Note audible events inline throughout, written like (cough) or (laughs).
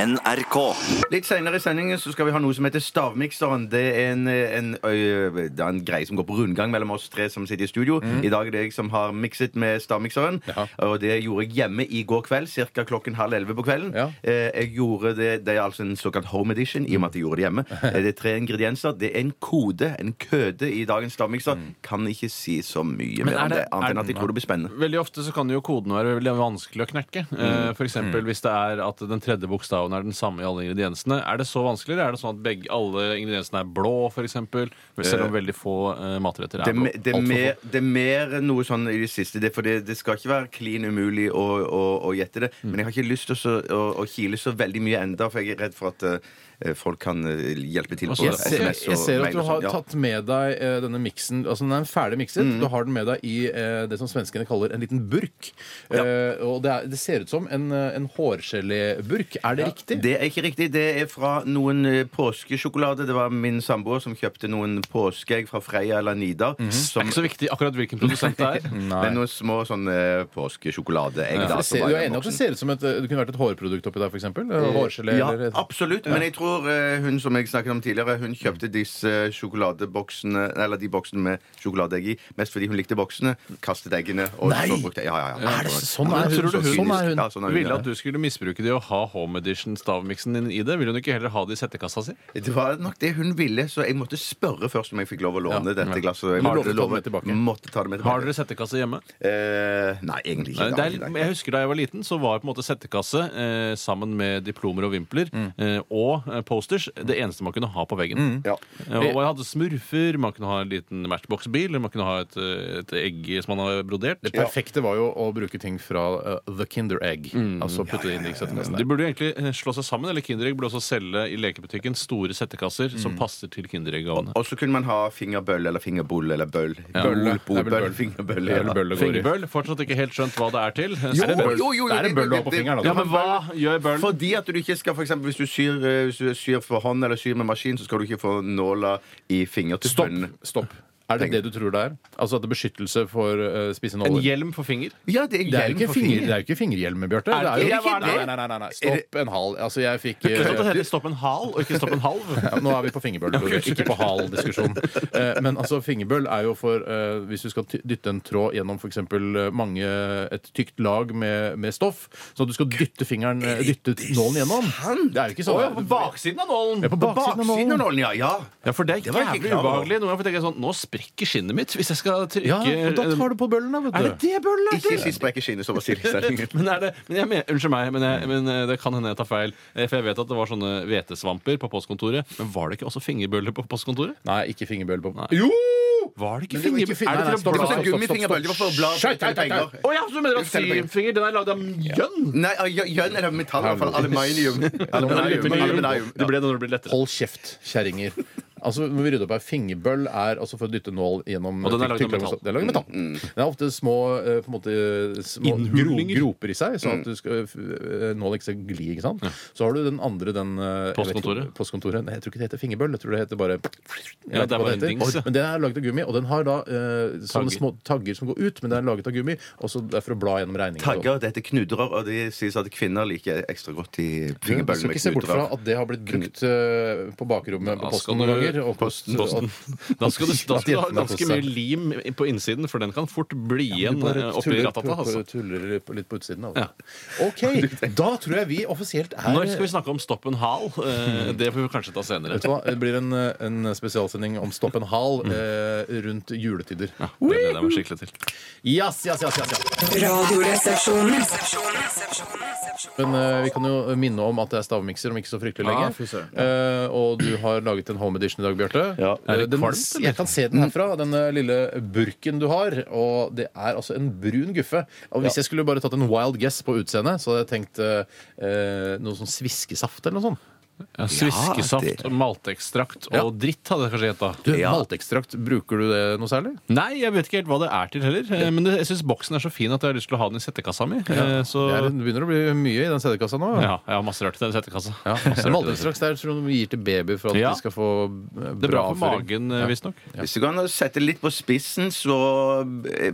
NRK. Litt senere i sendingen så skal vi ha noe som heter Stavmikseren. Det er en, en, ø, det er en greie som går på rundgang mellom oss tre som sitter i studio. Mhm. I dag er det jeg som har mikset med stavmikseren. Jaha. Og det gjorde jeg hjemme i går kveld, ca. klokken halv elleve på kvelden. Ja. Eh, Jeg gjorde det, det er altså en såkalt home edition, i og med at jeg gjorde det hjemme. Mhm. Eh, Det er tre ingredienser. Det er en kode, en køde, i dagens stavmikser. Kan ikke si så mye mer om Mhm. er det, det- annet er- enn at jeg tror det blir spennende. Veldig ofte så kan jo koden være veldig vanskelig å knekke. Mm. Eh, For eksempel hvis det er at den tredje bokstaven er den samme i alle ingrediensene. Er det så vanskelig? eller Er det sånn at begge, alle ingrediensene er blå, for eksempel? Selv om veldig få eh, matretter det, er er blå. me- det, er Altfor mer, få. det er mer noe sånn i det siste. Det, for det, det skal ikke være klin umulig å, å, å gjette det. Mm. Men jeg har ikke lyst til å, så- å, å kile så veldig mye enda, for jeg er redd for at eh, folk kan eh, hjelpe til på Jeg Jeg SMS og mail. ser, jeg ser at du og har sånn, ja. Mm. tatt med deg eh, denne miksen Altså den er ferdig mikset. Du har den med deg i eh, det som svenskene kaller en liten burk. Eh, og det, er, det ser ut som en, eh, en hårgeléburk. Er det riktig? Det er ikke riktig. Det er fra noen eh, påskesjokolade. Det var min samboer som kjøpte noen påskeegg fra Freia eller Nidar. Mhm. Det er Som ikke så viktig akkurat hvilken produsent det (laughs) er. men noen små sånne påskesjokoladeegg. da, Det som ser, var du i er den enig at boksen. det ser ut som et, eh, det kunne vært et hårprodukt oppi der, f.eks.? Hårgelé Eh, Ja, eller Mm. absolutt. Men jeg tror eh, hun som jeg snakket om tidligere, hun kjøpte disse sjokoladeboksene Eller de boksene med sjokoladeegg i mest fordi hun likte boksene, kastet eggene og Nei! så brukte Ja, ja, ja. Er det sånn Ja, er hun? tror du Sånn er hun. Ja, sånn er hun. Ville ja. at du skulle misbruke det og ha home edition-stavmiksen din i det. Ville hun ikke heller ha det i settekassa si? Det var nok det hun ville, så jeg måtte spørre først om jeg fikk lov å låne dette glasset. Jeg Du måtte lovte å ta det med tilbake. Måtte ta det med Har tilbake. dere settekasse hjemme? Eh, nei, egentlig ikke. det Nei, det har jeg er, ikke, litt- nei. jeg husker Da jeg var liten, så var på en måte settekasse eh, sammen med diplomer og vimpler Mm. eh, og eh, posters det eneste man kunne ha på veggen. Ja. Eh, Og jeg hadde smurfer, man kunne ha en liten Matchbox-bil, eller man kunne ha et, eh, et egg som man har brodert. Det perfekte var jo å bruke ting fra eh, The Kinder Egg. Mm. Altså putte det inn i settekassen. De burde jo egentlig eh, slå seg sammen, eller Kinderegg burde også selge i lekebutikken store settekasser som Mm. passer til Kinderegg-gavene. Og så kunne man ha fingerbøll eller fingerboll eller bøll. Bølle. Bol, Det er vel bøll, bøll. fingerbøll, Det er vel bølle går i. Fingerbøll, fortsatt ikke helt skjønt hva det er til. Er det bøll? jo, jo, jo, Det er det- en bøll du har på det- fingeren. det- Ja, altså. men hva gjør bøll? Fordi at du ikke skal, for eksempel, Hvis du syr, eh, hvis du syr for hånd eller syr med maskin, så skal du ikke få nåla i fingertuppene. Stopp. Stopp. Er det det du tror det er? Altså at det er beskyttelse for uh, spisse En nåler? hjelm for finger? Ja, det er Det er jo hjelm ikke, for finger, fingeren. det er jo ikke fingerhjelm, Bjarte. Det Er er det jo ikke nei, det? nei, nei, nei, nei. Stopp en hal. Altså, jeg fikk Ikke sant at det eh, heter stopp en hal, og ikke stopp en halv? (laughs) ja, Nå er vi på fingerbøl, Tore. ikke på hal-diskusjon. Eh, Men altså, fingerbøl er jo for eh, Hvis du skal ty- dytte en tråd gjennom f.eks. mange et tykt lag med, med stoff, så at du skal dytte fingeren eh, Dytte nålen gjennom. Det er jo Å ikke ja, sånn. på baksiden av nålen! Ja, på baksiden av nålen. nålen, ja. ja. Ja, for det er Det var jeg ikke jævlig klar over. ubehagelig. Noen ganger får jeg tenke sånn Nå sprekker skinnet mitt hvis jeg skal trykke eh, Ja, og da tar du på bøllen, da, vet du. Er det det bøllet er Ikke til? si sprekke skinnet som var (laughs) stillestillingen. Men er det, men jeg, men- unnskyld meg, men, jeg, men eh, det kan hende jeg tar feil. Eh, For jeg vet at det var sånne hvetesvamper på postkontoret. Men var det ikke også fingerbøller på postkontoret? Nei, ikke fingerbøll på Nei. Jo! Var det ikke Men det var ikke fingerbøller? fin- Er nei, det nei, til å stopp, Det var bla- sånn stopp, stopp, gummifingerbøll. Det var for å bla Skjøt, skjøt, skjøt. penger. Å ja, så du mener at syvfinger den er lagd av mjønn? Nei, ja, jønn eller metall, i hvert fall. (laughs) Aluminium. Aluminium. Aluminium. Det ble det når det ble lettere. Hold kjeft, kjerringer. Altså, må vi rydde opp her. Fingerbøll er altså for å dytte nål gjennom Og den er laget av tykklag- metall. Den er laget av metall. Mm. Den er ofte små, eh, på en måte, eh, små gro Innhulninger. groper i seg, Mm. sånn at du skal, f- eh, nålen ikke skal gli. ikke sant? Så har du den andre, den eh, jeg vet ikke- Postkontoret. postkontoret. Nei, jeg tror ikke det heter fingerbøll. Jeg tror det heter bare jeg Ja, vet det er ikke hva bare en heter. dings, ja. Men den er laget av gummi, og den har da eh, sånne Tagger. små tagger som går ut, men den er laget av gummi, og så det er for å bla gjennom regningen. og sånn. Tagger, det heter knudrer, og det sies at kvinner liker ekstra godt i Du fingerbøll skal med ikke se bort fra knudrer. at det har blitt brukt eh, på bakrommet på Da skal posten noen du- ganger. Og post, Posten. Da skal du, da skal du ha ganske mye lim i- på innsiden, for den kan fort bli igjen eh, oppi ratata. Altså. Tuller litt på utsiden. Altså. (laughs) (laughs) OK, da tror jeg vi offisielt er Når skal vi snakke om stopp en hal? Eh, Det får vi kanskje ta senere. Vet du hva? Det blir en, eh, en spesialsending om Stopp en hal Mm. eh, rundt juletider. Det gleder jeg meg skikkelig til. Yes, yes, yes, yes, yes. Radioresepsjonen. Men eh, vi kan jo minne om at det er stavmikser om ikke så fryktelig lenge. Ah, fy søren. Eh, og du har laget en home edition i dag, Bjarte. Ja. Eh, Er det den- kvalmt, eller? jeg kan se den herfra, den eh, lille burken du har. Og det er altså en brun guffe. Og hvis jeg skulle bare tatt en wild guess på utseendet, så hadde jeg tenkt eh, eh, noe sånn sviskesaft eller noe sånt. Ja, det- Sviskesaft, og malteekstrakt og Ja. dritt hadde jeg kanskje gjetta. Du, Malteekstrakt, bruker du det noe særlig? Nei, jeg vet ikke helt hva det er til heller. eh, Men det, jeg syns boksen er så fin at jeg har lyst til å ha den i settekassa mi. eh, Så Det, er, det begynner å bli mye i den CD-kassa nå. ja, jeg har masse rart i den settekassa. (laughs) Ja, (laughs) Masse rart i den Malteekstrakt er tror jeg noe vi gir til baby for at Ja. de skal få eh, Det er bra bra for avføring. magen, eh, visstnok. Hvis du kan sette litt på spissen, så eh,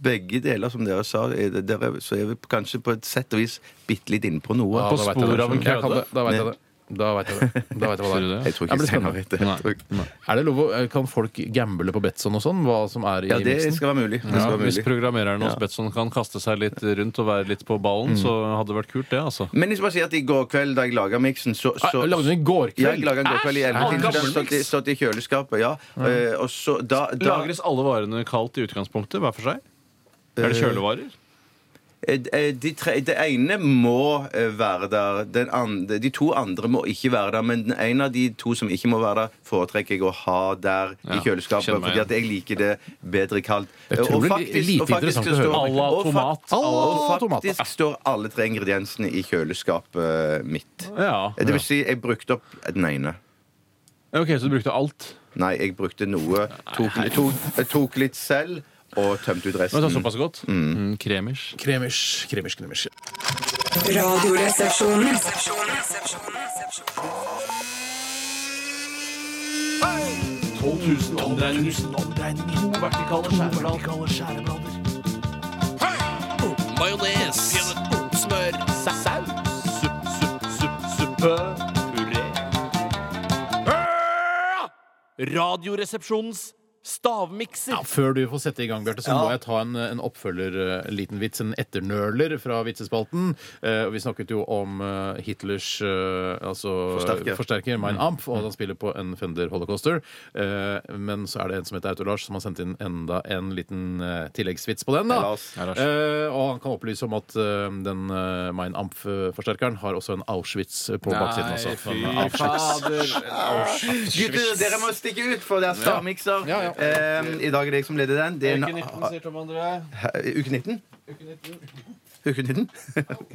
begge deler, som dere sa, er det, dere, så er vi kanskje på et sett og vis bitte litt inne på noe. Ja, På da vet jeg sporet det. av en Jeg kan kødde? det. Da vet jeg det. Da vet jeg det. Da vet jeg hva Sier du det det? er. Jeg tror Jeg ikke blir Steinar spennende. vet det. Jeg tror ikke- Er det lov å, eh, kan folk gamble på Betson og sånn? Hva som er i Ja, det mixen? skal være mulig. Det skal være Hvis mulig. programmereren hos Betson kan kaste seg litt rundt og være litt på ballen, så hadde det vært kult, det, altså. Men jeg skal bare si at i går kveld da jeg laga miksen, så, Ah, så Lagde du den i går Ja, jeg kveld? laga en god kveld i elvetiden. så gammel Den stått i- mix. stått i kjøleskapet, ja. Eh, Og så da, da Lagres alle varene kaldt i utgangspunktet, hver for seg? Er det kjølevarer? Eh, De tre, det ene må eh, være der. Den andre, de to andre må ikke være der. Men den ene av de to som ikke må være der, foretrekker jeg å ha der Ja, i kjøleskapet. kjenner meg Fordi at jeg liker det bedre kaldt. Det er Eh, utrolig lite interessant å så høre. står- À la og fa- tomat. À la Og tomat. faktisk står alle tre ingrediensene i kjøleskapet mitt. Ja. Eh, Det vil si, jeg brukte opp eh, den ene. Ok, Så du brukte alt? Nei, jeg brukte noe. Tok, tok, tok litt selv, og tømte ut Men det altså, er resten. såpass godt? Mm, kremers. Kremers, kremers, kremers. Radioresepsjonen. Radioresepsjonens stavmikser. Ja, før du får sette i gang, Bjarte, så må jeg ta en, en oppfølger, eh, en liten vits, en etternøler fra vitsespalten. Eh, og vi snakket jo om eh, Hitlers eh, altså, Forsterker. forsterker Mm. Mein Amp, og han spiller på en Fender Holocauster. Eh, men så er det en som heter Autolars, som har sendt inn enda en liten eh, tilleggsvits på den. Hei, da. Lars. Hei, Lars. Eh, og han kan opplyse om at eh, den eh, Mein Amp-forsterkeren har også en Auschwitz på baksiden. også. Sånn Den Auschwitz. Gutter, dere må stikke ut, for det er stavmikser. Ja, ja. Ehm, I dag er det jeg som leder den. Det er en, sier Tom André. Hæ, uke 19? Uke 19? (laughs) Ok.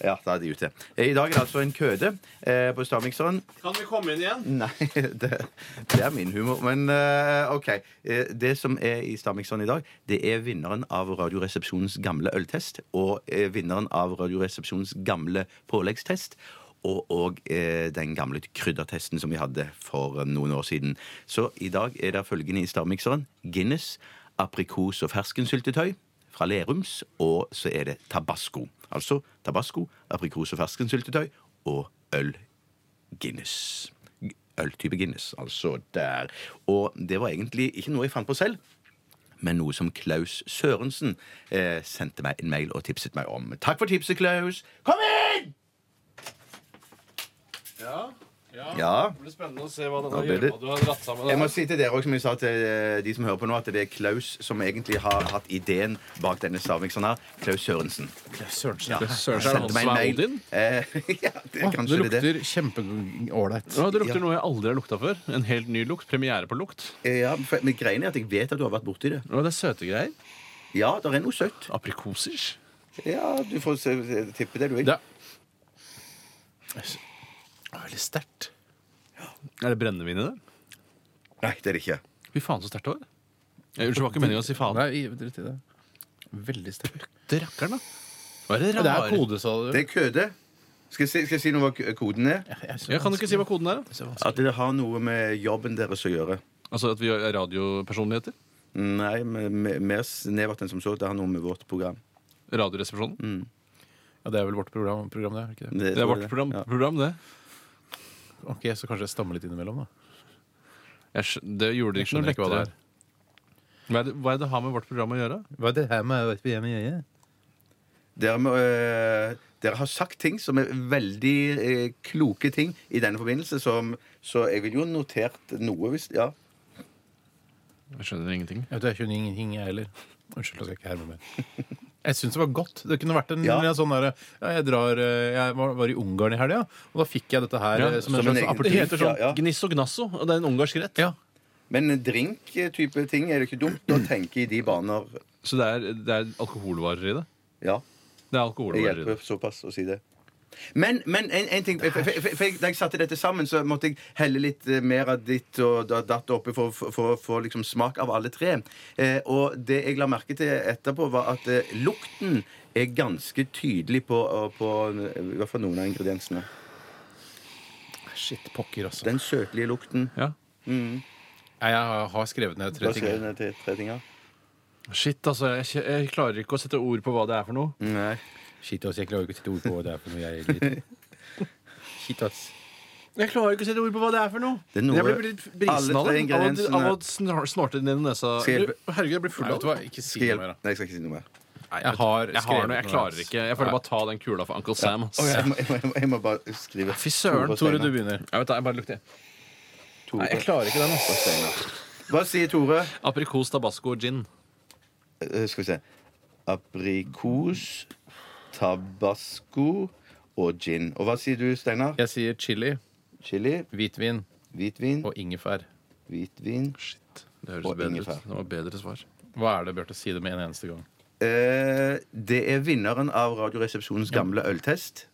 Ja, da er de ute. I dag er det altså en køde eh, på stavmikseren. Kan vi komme inn igjen? (laughs) Nei, det, det er min humor. Men eh, OK. Eh, Det som er i Stavmikseren i dag, det er vinneren av Radioresepsjonens gamle øltest og eh, vinneren av Radioresepsjonens gamle påleggstest. Og, og eh, den gamle kryddertesten som vi hadde for eh, noen år siden. Så i dag er det følgende i Stavmikseren. Guinness, aprikos- og ferskensyltetøy fra Lerums. Og så er det tabasco. Altså tabasco, aprikos- og ferskensyltetøy og øl Guinness. G- Øltype Guinness, altså der. Og det var egentlig ikke noe jeg fant på selv. Men noe som Klaus Sørensen eh, sendte meg en mail og tipset meg om. Takk for tipset, Klaus! Kom inn! Ja. Det blir spennende å se hva Da denne blir det- gjørma du har dratt sammen. Jeg må si til dere også, som jeg sa til eh, de som hører på nå, at det er Klaus som egentlig har hatt ideen bak denne stavmikseren her. Klaus Sørensen. Sørensen, Sørensen. er det han som er Odin? Eh, (laughs) ja, det Å, er Det kanskje det. det. lukter kjempeålreit. Ja, det lukter noe jeg aldri har lukta før. En helt ny lukt. Premiere på lukt. Eh, Ja, for- men greien er at jeg vet at du har vært borti det. Å, det er søte greier. Ja, det er noe søtt. Aprikoser. Ja, du får se- tippe det du vil. Det er veldig sterkt. Er det brennevin i det? Nei, det er det ikke. Fy faen, så sterkt det var. Eh, Unnskyld, det var ikke meningen å si faen. Nei, drit i det. Veldig sterkt. Det rakkeren, da. Hva er det Det er rare? kode, sa du. Det er køde. Skal jeg si, skal jeg si noe hva k- koden er? Jeg kan du ikke si hva koden er. da? At det har noe med jobben deres å gjøre. Altså at vi er radiopersonligheter? Nei, med- med- mer snevert enn som så. Det har noe med vårt program. Radioresepsjonen? Ja, det er vel vårt program, program det? er ikke det? Det er vårt program, Ja. program det. Ok, Så kanskje jeg stammer litt innimellom, da. Jeg, skj- det gjorde det Jeg ikke noe skjønner ikke hva lettere. det er. Hva er det, hva er det har med vårt program å gjøre? Hva er det her med vet vi hjemme i øyet? Dere, må, øh, dere har sagt ting som er veldig eh, kloke ting i denne forbindelse, som, så jeg vil jo ha notert noe hvis Ja. Jeg skjønner ingenting. Jeg vet, jeg skjønner ingenting, jeg heller. Unnskyld, jeg skal ikke herme mer. Jeg syns det var godt. Det kunne vært en Ja. en sånn derre ja, Jeg, drar, eh, jeg var, var i Ungarn i helga, og da fikk jeg dette her Ja, eh, som, som en en slags egen aperitiff. Det heter sånn Ja, ja. gnisso gnasso, og det er en ungarsk rett. Ja. Men drink-type ting er det ikke dumt å tenke i de baner. Så det er, det er alkoholvarer i det? Ja. Det er Det alkoholvarer i hjelper det. såpass å si det. Men, men en, en ting for, for, for, for jeg- Da jeg satte dette sammen, så måtte jeg helle litt eh, mer av ditt og da- datt oppi for å få- få liksom smak av alle tre. Eh, og det jeg la merke til etterpå, var at eh, lukten er ganske tydelig på, på eh, i hvert fall noen av ingrediensene. Shit, pokker, altså. Den søtlige lukten. Ja. Nei, Jeg har skrevet ned tre Da ting. skrev jeg ned til tre ting her. Shit, altså. Jeg, kje- jeg klarer ikke å sette ord på hva det er for noe. Nei. Shit, altså, ass. Jeg klarer ikke å sette ord på hva det er for noe. Jeg er litt... Shit, ass. Jeg klarer ikke å sette ord på hva det er for noe. Det er noe- jeg blir litt brisen alle tre av det. Av å- Av å ingrediensene- snor- snorte det ned i nesa. Skal jeg hjelpe? Du, Herregud, jeg blir full Nei, av vet du det. hva, ikke si Skal jeg noe mer. hjelpe? Nei, jeg skal ikke si noe mer. Jeg har Jeg har noe, jeg skrevet klarer ass. ikke. Jeg føler bare ta den kula for Uncle Sam. ass. Å, jeg, må, jeg, må, jeg, må, jeg må bare skrive. Fy søren, Tore Tore, Steinar. du begynner. Jeg vet da, jeg bare lukter. Tore Nei, jeg klarer ikke den. altså. ass. Steinar. Hva sier Tore? Aprikos, tabasco og gin. Eh, skal vi se Aprikos, tabasco og gin. Og hva sier du, Steinar? Jeg sier chili, Chili, hvitvin hvitvin, og ingefær. hvitvin Shit, Og det høres bedre ingefær. ut. Det var bedre svar. Hva er det, Bjarte? Si det med en eneste gang. Eh, Det er vinneren av Radioresepsjonens gamle øltest.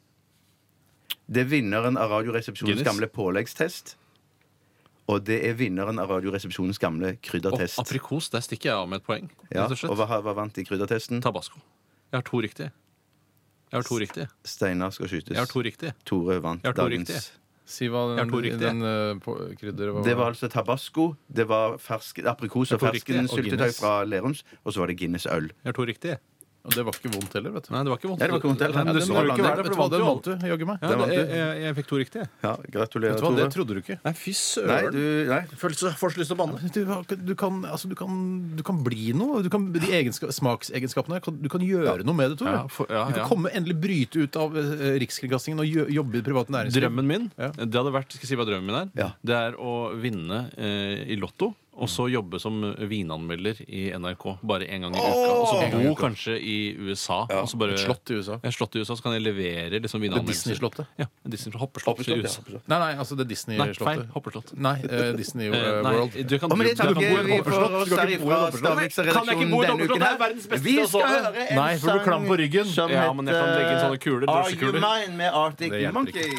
Det er vinneren av Radioresepsjonens Guinness. gamle påleggstest. Og det er vinneren av Radioresepsjonens gamle Og kryddertest. aprikos, der stikker jeg av med et poeng. ja, rett og slett. og hva, hva vant i kryddertesten? Tabasco. Jeg har to riktige. Jeg har to riktige. Steinar skal skytes. Jeg har to riktige. Tore vant Jeg har to dagens. riktige. Si hva Jeg har den, to riktige. den eh, på- krydderet var. Det var altså tabasco, det var fersk, aprikos og Jeg tror riktig, fersken og syltetøy Guinness. fra Lerums, og så var det Guinness øl. Jeg har to riktige. Og det var ikke vondt heller, vet du. Nei, det var ikke vondt. Nei, det var ikke vondt heller. Nei, men Ja, det den skulle var ikke blandet. være det, for Vet du det hva, vant jo den vant du, jaggu meg. Ja, Den vant det, du. jeg, jeg, jeg fikk to riktige. Ja, gratulerer, Vet du hva, Tore. det trodde du ikke. Nei, fy Nei, søren. du, nei. Føles får så lyst til å banne. Du, har ikke- du, kan, altså, du, kan, du kan bli noe. Du kan, de egenska- smaksegenskapene her, kan- du kan gjøre noe med det, Tore. Ja, for- ja, du kan ja. komme endelig bryte ut av eh, Rikskringkastingen og gjø- jobbe i det private næringsliv. Drømmen min Ja. det hadde vært, skal jeg si hva drømmen min er, Ja. det er å vinne eh, i Lotto. Og så jobbe som vinanmelder i NRK bare én gang i uka. Og så bo kanskje i USA. Og så bare, Et slott i USA. Et slott i USA, så kan jeg levere liksom vinanmeldelser. Disney-slottet. Ja, Disney Hoppeslott i USA. Nei, nei, altså det Nei, feil. Disney-slottet. Hoppeslott. Nei, eh, Disney (laughs) Eh, nei, World. du kan, Og med det du, du kan takker bo i vi Hoppeslott. for oss her ifra Kan jeg ikke bo i Stavmiksredaksjonen denne uken Hoppeslott? Det er her. verdens beste Vi skal sove. høre en Nei, for du klam på ryggen. sang som Ja, men jeg kan legge inn sånne kuler, heter Are You drosjekuler. Mine med Arctic Det hjelper Monkey.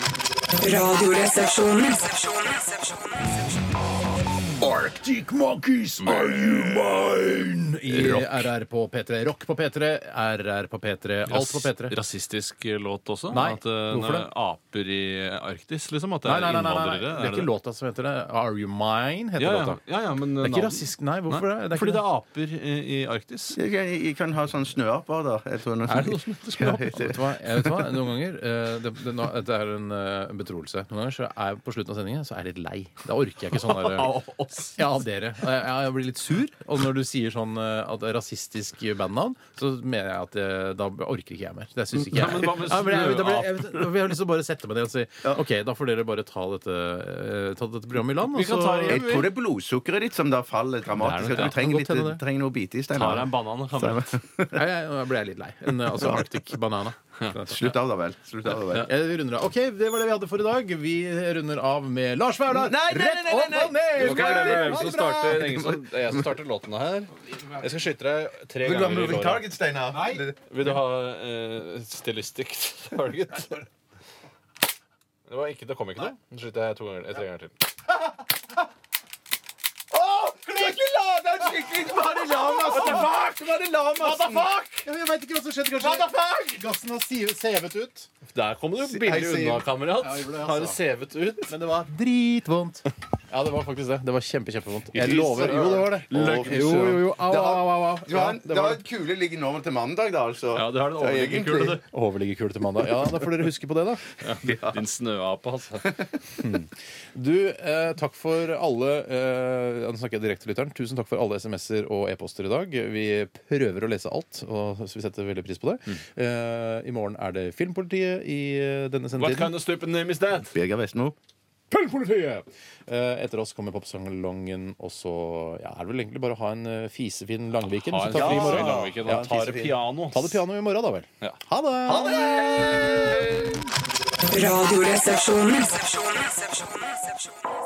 Radioresepsjonen. Arctic Monkeys, are you mine? I RR på P3. Rock på P3, RR på P3, alt på P3. Rasistisk eh, låt også? Nei, At eh, hvorfor nå er aper i Arktis, liksom? At det Nei, er nei, nei, nei, nei. innvandrere? Det er ikke låta som heter det. Are You Mine heter ja, ja. låta. ja, ja, men Det er ikke rasistisk, nei. Hvorfor det? det? er Fordi ikke det er aper eh, i Arktis. Jeg kan, jeg kan ha sånn snøaper, da. Jeg tror noe Er sånt. det noe som heter snøaper? Ja, Vet du hva? Jeg vet hva? Noen ganger eh, det, det, nå, Dette er en eh, en betroelse. Noen ganger så er jeg på slutten av sendingen så er jeg litt lei. Da orker jeg ikke sånn (laughs) der Av oss. Ja, av dere. Og Jeg, jeg blir litt sur. Og når du sier sånn eh, at det er rasistisk bandnavn, så mener jeg at eh, da orker ikke jeg mer. Det syns ikke Ja, men jeg. hva med men jeg, (laughs) da blir- jeg, vet- da blir jeg har lyst til å bare sette meg ned og si OK, da får dere bare ta dette, eh, ta dette programmet i land. Vi kan ta det Jeg tror det er blodsukkeret ditt som da faller dramatisk. at Det er nok det. Du trenger, Det kan godt litt, hende det. trenger noe å bite i, Tar Steinar. deg en banan. Kan Nei, jeg, nå ble jeg litt lei. En, eh, (laughs) altså Arctic Banana. Slutt av, da vel. Slutt av, da vel. Eh, Vi runder av. OK, det var det vi hadde for i dag. Vi runder av med Lars Vaular. Nei, nei, nei, nei, Rett opp og ned! Ok, det er jeg Ha som det bra! starter- det er ingen som- det er jeg som starter låten her. Jeg skal skyte deg tre Du ganger i moving låret. target, Steinar. Vil du ha uh, stilistic target? Det, var ikke, det kom ikke noe. Nå skyter jeg to ganger, eh, tre ganger til. Ja, jeg veit ikke hva som skjedde. Kanskje gassen har si- sevet ut. Der kom du billig Siv. unna, kamerat. Ja, jeg gjorde det, altså. Har det sevet ut? Men det var dritvondt. Ja, det var faktisk det. Det var kjempe, kjempevondt. Jeg Fy lover. Jo, det var det. Løk- Jo, jo, jo. Au, Det au, var- au. au. Du har Ja, en, det var det. kule ligger nå til mandag, da, altså. Ja, du har den Det er overliggekule, egentlig- du. Overliggekule til mandag. Ja, da får dere huske på det, da. Din snøape, altså. Du, eh, takk for alle eh, Nå snakker jeg direkte til lytteren. Tusen takk for alle SMS-er og e-poster i dag. Vi prøver å lese alt, og så vi setter veldig pris på det. Mm. Eh, I morgen er det Filmpolitiet i eh, denne What sendetiden. kind of stupid name is that? Birger Vestmo. Filmpolitiet! Eh, etter oss kommer popsalongen, og så ja, er det vel egentlig bare å ha en eh, fisefin Langviken. Ha Så en takk for i fin morgen. Langviken, da. Ja, Ta det fisefin. piano. Ta det piano i morgen, da vel. Ja. Ha det! Ha det! Radioresepsjonen.